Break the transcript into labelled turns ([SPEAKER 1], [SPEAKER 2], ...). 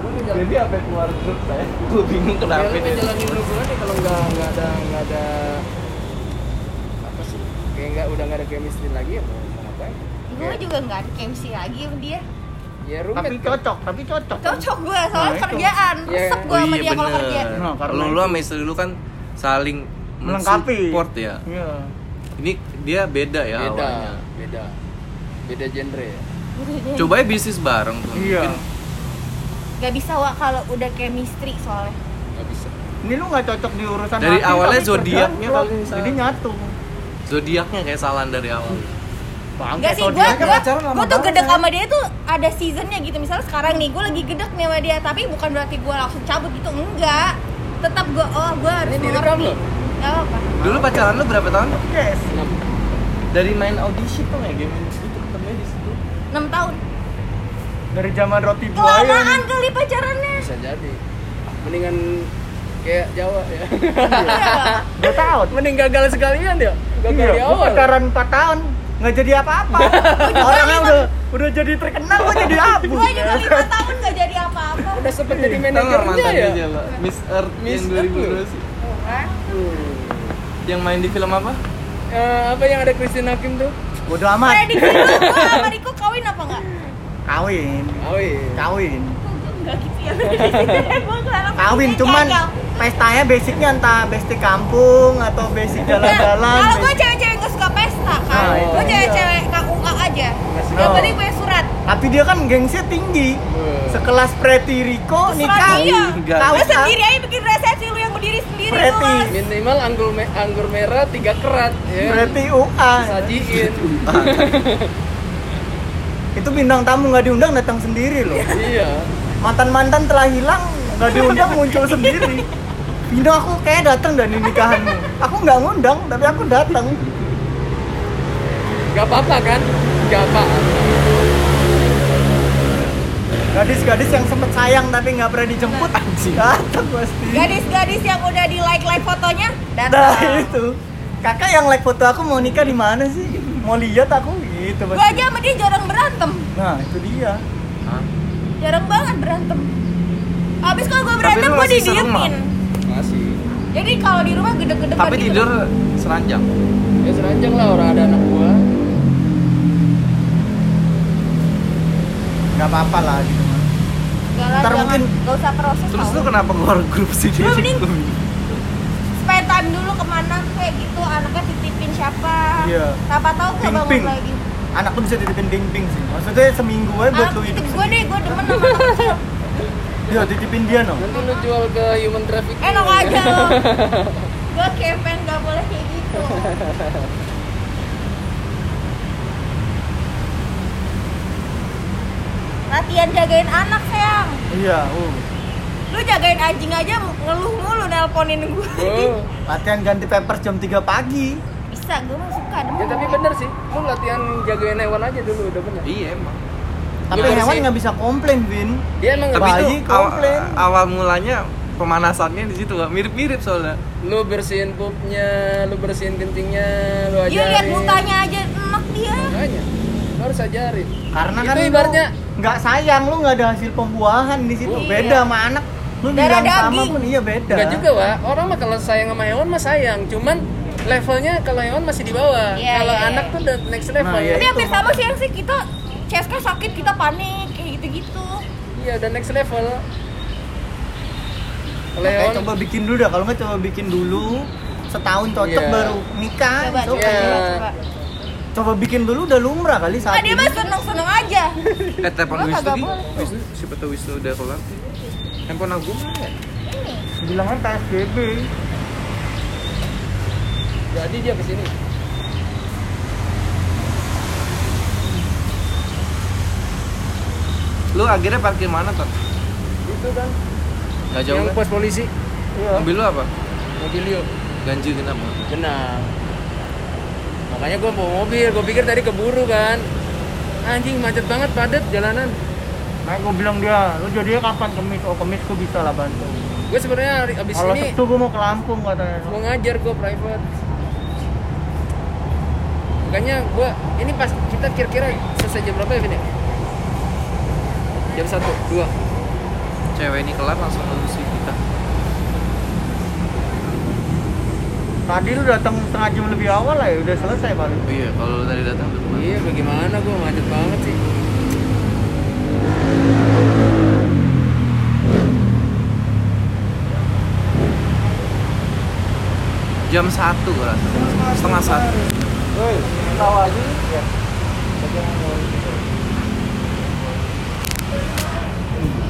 [SPEAKER 1] enggak
[SPEAKER 2] Jadi apa yang keluar grup saya? Gue bingung
[SPEAKER 1] Ya,
[SPEAKER 2] kenapa
[SPEAKER 1] lu
[SPEAKER 2] ini.
[SPEAKER 1] jalanin hubungan deh kalau nggak nggak ada nggak ada apa sih kayak nggak udah nggak ada chemistry lagi ya mau mau ngapain Iya.
[SPEAKER 3] gue juga nggak ada chemistry lagi sama dia
[SPEAKER 1] ya rumit
[SPEAKER 4] Tapi cocok, tapi cocok.
[SPEAKER 3] cocok gue soal
[SPEAKER 4] Nah, itu.
[SPEAKER 3] kerjaan
[SPEAKER 1] Iya.
[SPEAKER 3] resep
[SPEAKER 2] Oh,
[SPEAKER 3] gue sama dia kalau kerja
[SPEAKER 4] Nah, karena
[SPEAKER 2] lu
[SPEAKER 4] itu.
[SPEAKER 2] lu sama istri lu kan saling
[SPEAKER 4] Melengkapi.
[SPEAKER 2] support ya.
[SPEAKER 4] Iya.
[SPEAKER 2] Ini dia beda ya
[SPEAKER 1] beda
[SPEAKER 2] awalnya.
[SPEAKER 1] beda beda genre ya
[SPEAKER 2] Coba ya bisnis bareng tuh.
[SPEAKER 4] Iya.
[SPEAKER 2] Mungkin
[SPEAKER 3] nggak bisa wa kalau udah chemistry soalnya
[SPEAKER 1] nggak bisa
[SPEAKER 4] Ini lu nggak cocok di urusan
[SPEAKER 2] Dari
[SPEAKER 4] hati,
[SPEAKER 2] awalnya
[SPEAKER 4] tapi kerjaan
[SPEAKER 2] zodiaknya
[SPEAKER 4] klop.
[SPEAKER 2] kali salah.
[SPEAKER 4] Jadi nyatu.
[SPEAKER 2] zodiaknya kayak salah dari awal.
[SPEAKER 4] Bang,
[SPEAKER 3] Enggak sih, gue
[SPEAKER 4] zodiaknya
[SPEAKER 3] gua,
[SPEAKER 4] kan pacaran lama
[SPEAKER 3] gua tuh
[SPEAKER 4] banget,
[SPEAKER 3] gedek
[SPEAKER 4] ya.
[SPEAKER 3] sama dia tuh ada seasonnya gitu Misalnya sekarang nih, gue lagi gedek nih sama dia Tapi bukan berarti gue langsung cabut gitu, enggak Tetap gue, oh gue harus
[SPEAKER 1] Ini direkam
[SPEAKER 3] mengerti
[SPEAKER 1] loh.
[SPEAKER 3] Gak apa
[SPEAKER 2] Dulu pacaran lu berapa tahun?
[SPEAKER 4] Yes.
[SPEAKER 2] Dari main audisi tuh ya game itu ketemunya di situ.
[SPEAKER 3] 6 tahun
[SPEAKER 4] Dari zaman roti buaya.
[SPEAKER 3] Kelamaan kali pacarannya
[SPEAKER 1] bisa jadi mendingan kayak Jawa ya
[SPEAKER 3] Iya.
[SPEAKER 4] Gak tau.
[SPEAKER 1] mending gagal sekalian ya gagal
[SPEAKER 4] Iya,
[SPEAKER 1] di
[SPEAKER 4] gua
[SPEAKER 1] awal
[SPEAKER 4] pacaran 4 tahun nggak jadi apa-apa. Orangnya udah udah jadi terkenal gua jadi abu.
[SPEAKER 3] Gue juga 5 tahun gak jadi apa-apa
[SPEAKER 1] udah sempet jadi
[SPEAKER 2] Tahu
[SPEAKER 1] manajernya
[SPEAKER 2] Iya, mantan
[SPEAKER 1] ya
[SPEAKER 2] dia Pak. Miss Earth
[SPEAKER 1] Miss
[SPEAKER 2] yang
[SPEAKER 1] Earth lu.
[SPEAKER 2] 2012 sih.
[SPEAKER 3] Murah.
[SPEAKER 1] Hmm.
[SPEAKER 2] Yang main di film apa?
[SPEAKER 1] Eh, apa yang ada Christine Hakim tuh
[SPEAKER 4] Bodoh amat.
[SPEAKER 3] Prediksi lu, gue sama Riko kawin apa enggak?
[SPEAKER 4] Kawin.
[SPEAKER 1] Awi
[SPEAKER 4] Kawin.
[SPEAKER 3] Enggak gitu ya, gue kelihatan
[SPEAKER 4] Kawin cuman pestanya basicnya entah basic kampung atau basic jalan-jalan.
[SPEAKER 3] Kalau gue
[SPEAKER 4] basic-
[SPEAKER 3] cewek-cewek gak suka pesta kan
[SPEAKER 2] Ah, iya.
[SPEAKER 4] Nah,
[SPEAKER 3] Gue
[SPEAKER 4] itu.
[SPEAKER 3] cewek-cewek KUA aja
[SPEAKER 4] suka.
[SPEAKER 2] Oh.
[SPEAKER 3] Yang penting punya surat
[SPEAKER 4] Tapi dia kan gengsi tinggi. Sekelas Preti Rico nikah.
[SPEAKER 3] iya.
[SPEAKER 2] Oh, Enggak.
[SPEAKER 3] Lu
[SPEAKER 4] Kawin kan?
[SPEAKER 3] sendiri aja bikin resepsi lu yang berdiri sendiri lu
[SPEAKER 4] Berarti.
[SPEAKER 3] Mas.
[SPEAKER 1] minimal anggur me- anggur merah tiga kerat ya
[SPEAKER 4] Preti UA.
[SPEAKER 1] sajiin
[SPEAKER 4] Itu bintang tamu nggak diundang datang sendiri loh.
[SPEAKER 1] iya
[SPEAKER 4] mantan-mantan telah hilang nggak diundang muncul sendiri Bino aku kayak datang dari nikahanmu aku nggak ngundang tapi aku datang
[SPEAKER 1] Gak apa-apa kan? Gak apa
[SPEAKER 4] gadis-gadis yang sempet sayang tapi nggak pernah dijemput datang pasti
[SPEAKER 3] Gadis-gadis yang udah di like-like fotonya
[SPEAKER 4] nah
[SPEAKER 3] datang.
[SPEAKER 4] itu kakak yang like foto aku mau nikah di mana sih mau lihat aku gitu
[SPEAKER 3] Gua
[SPEAKER 4] pasti
[SPEAKER 3] aja sama dia jarang berantem.
[SPEAKER 4] nah itu dia
[SPEAKER 2] Hah?
[SPEAKER 3] Jarang banget berantem. Abis kalau gua
[SPEAKER 2] Tapi
[SPEAKER 3] berantem
[SPEAKER 2] lu
[SPEAKER 3] gua
[SPEAKER 2] masih serem,
[SPEAKER 3] didiemin.
[SPEAKER 1] Masih
[SPEAKER 3] Jadi kalau di rumah gede-gede
[SPEAKER 2] Tapi tidur seranjang.
[SPEAKER 1] Ya seranjang lah orang ada anak gua
[SPEAKER 4] nggak apa-apa lah gitu mah.
[SPEAKER 3] Gak lah,
[SPEAKER 4] Ntar
[SPEAKER 3] jangan.
[SPEAKER 4] mungkin-
[SPEAKER 3] Gak usah proses
[SPEAKER 2] Terus
[SPEAKER 3] tau.
[SPEAKER 2] lu kenapa keluar grup sih dia?
[SPEAKER 3] Lu mending spend time dulu kemana kayak gitu anaknya titipin siapa
[SPEAKER 4] Iya. Kan
[SPEAKER 3] Siapa tahu gak bangun
[SPEAKER 4] Ping-ping.
[SPEAKER 3] lagi
[SPEAKER 4] anak lu bisa dititipin ding-ding sih maksudnya seminggu aja buat
[SPEAKER 1] Ah,
[SPEAKER 3] Anak
[SPEAKER 4] lu hidup
[SPEAKER 3] titip gue deh, gue demen sama anak kecil
[SPEAKER 4] ya titipin dia no
[SPEAKER 1] Nanti lu jual ke human trafficking
[SPEAKER 3] Enak aja lo Gue kepen gak boleh kayak gitu Latihan jagain anak sayang
[SPEAKER 4] iya uh.
[SPEAKER 3] Lu jagain anjing aja ngeluh mulu nelponin gue
[SPEAKER 1] Oh.
[SPEAKER 4] latihan ganti pampers jam 3 pagi
[SPEAKER 3] Bisa, gue mah suka
[SPEAKER 1] Ya
[SPEAKER 3] demen
[SPEAKER 1] tapi bener sih Lu latihan jagain hewan aja dulu udah bener
[SPEAKER 2] Iya emang.
[SPEAKER 4] Tapi
[SPEAKER 1] Gimana
[SPEAKER 4] hewan
[SPEAKER 1] Iya, sih?
[SPEAKER 4] nggak bisa komplain, Vin.
[SPEAKER 1] Dia emang
[SPEAKER 2] Tapi
[SPEAKER 4] Bayi
[SPEAKER 2] itu aw-
[SPEAKER 4] komplain.
[SPEAKER 2] eh, awal mulanya pemanasannya di situ Pak. mirip-mirip soalnya.
[SPEAKER 1] Lu bersihin pupnya, lu bersihin kencingnya Lu ajarin
[SPEAKER 3] Dia Iya, lihat mukanya aja enak dia
[SPEAKER 1] Makanya Lu harus ajarin
[SPEAKER 4] Karena
[SPEAKER 1] Itu
[SPEAKER 4] kan lu
[SPEAKER 1] ibaratnya-
[SPEAKER 4] nggak sayang, lu nggak ada hasil pembuahan di situ.
[SPEAKER 3] Iya.
[SPEAKER 4] Beda sama anak. Lu
[SPEAKER 3] Darah
[SPEAKER 4] bilang sama
[SPEAKER 3] daging.
[SPEAKER 4] pun iya beda.
[SPEAKER 1] Enggak juga Wak, orang mah kalau sayang sama hewan mah sayang Cuman levelnya kalau hewan masih di bawah
[SPEAKER 3] Iya,
[SPEAKER 1] Kalau
[SPEAKER 3] iya,
[SPEAKER 1] anak
[SPEAKER 3] iya.
[SPEAKER 1] tuh udah next level
[SPEAKER 4] Nah, iya.
[SPEAKER 3] Tapi
[SPEAKER 4] itu.
[SPEAKER 3] hampir sama sih yang sih kita CSK sakit kita panik kayak gitu-gitu.
[SPEAKER 1] Iya udah next level Kalau
[SPEAKER 4] Kayak
[SPEAKER 1] hewan
[SPEAKER 4] coba bikin dulu dah, kalau nggak coba bikin dulu setahun cocok
[SPEAKER 1] Iya.
[SPEAKER 4] baru nikah.
[SPEAKER 3] Coba
[SPEAKER 4] Coba.
[SPEAKER 3] coba
[SPEAKER 1] Iya.
[SPEAKER 3] coba.
[SPEAKER 4] coba bikin dulu udah lumrah kali
[SPEAKER 3] Nah,
[SPEAKER 4] saat
[SPEAKER 3] dia
[SPEAKER 4] ini.
[SPEAKER 3] mah seneng-seneng aja.
[SPEAKER 2] Eh telepon
[SPEAKER 3] Gua
[SPEAKER 2] Wisnu
[SPEAKER 3] kagak
[SPEAKER 2] di.
[SPEAKER 3] boleh.
[SPEAKER 2] Wisnu siapa tahu Wisnu udah keluar. Handphone aku mana ya?
[SPEAKER 4] Bilangnya PSBB.
[SPEAKER 1] Jadi dia kesini
[SPEAKER 2] Lu akhirnya parkir mana, Ton?
[SPEAKER 1] Itu kan
[SPEAKER 2] Gak jauh.
[SPEAKER 1] Yang
[SPEAKER 2] kan?
[SPEAKER 1] pos polisi
[SPEAKER 4] Iya.
[SPEAKER 2] Mobil lu apa?
[SPEAKER 1] mobil yuk
[SPEAKER 2] Ganjil kenapa?
[SPEAKER 1] benar makanya gue bawa mobil gue pikir tadi keburu kan anjing macet banget padat jalanan
[SPEAKER 4] Makanya gue Nah, bilang dia, lu jadinya kapan kemis? Oh kemis gue bisa lah bantu.
[SPEAKER 1] gue sebenarnya hari abis
[SPEAKER 4] Kalau
[SPEAKER 1] ini
[SPEAKER 4] Sabtu gue mau ke Lampung katanya.
[SPEAKER 1] mau ngajar gue private makanya gue ini pas kita kira-kira selesai jam berapa ya Vin ya? jam satu dua
[SPEAKER 2] cewek ini kelar langsung ngelusi kita
[SPEAKER 4] Tadi lu datang setengah jam lebih awal lah ya, udah selesai paling.
[SPEAKER 2] oh iya kalau lu tadi datang udah mulai
[SPEAKER 1] Iya, bagaimana gue macet banget sih.
[SPEAKER 2] jam satu gua rasa setengah satu
[SPEAKER 4] Woi, tahu aja ya.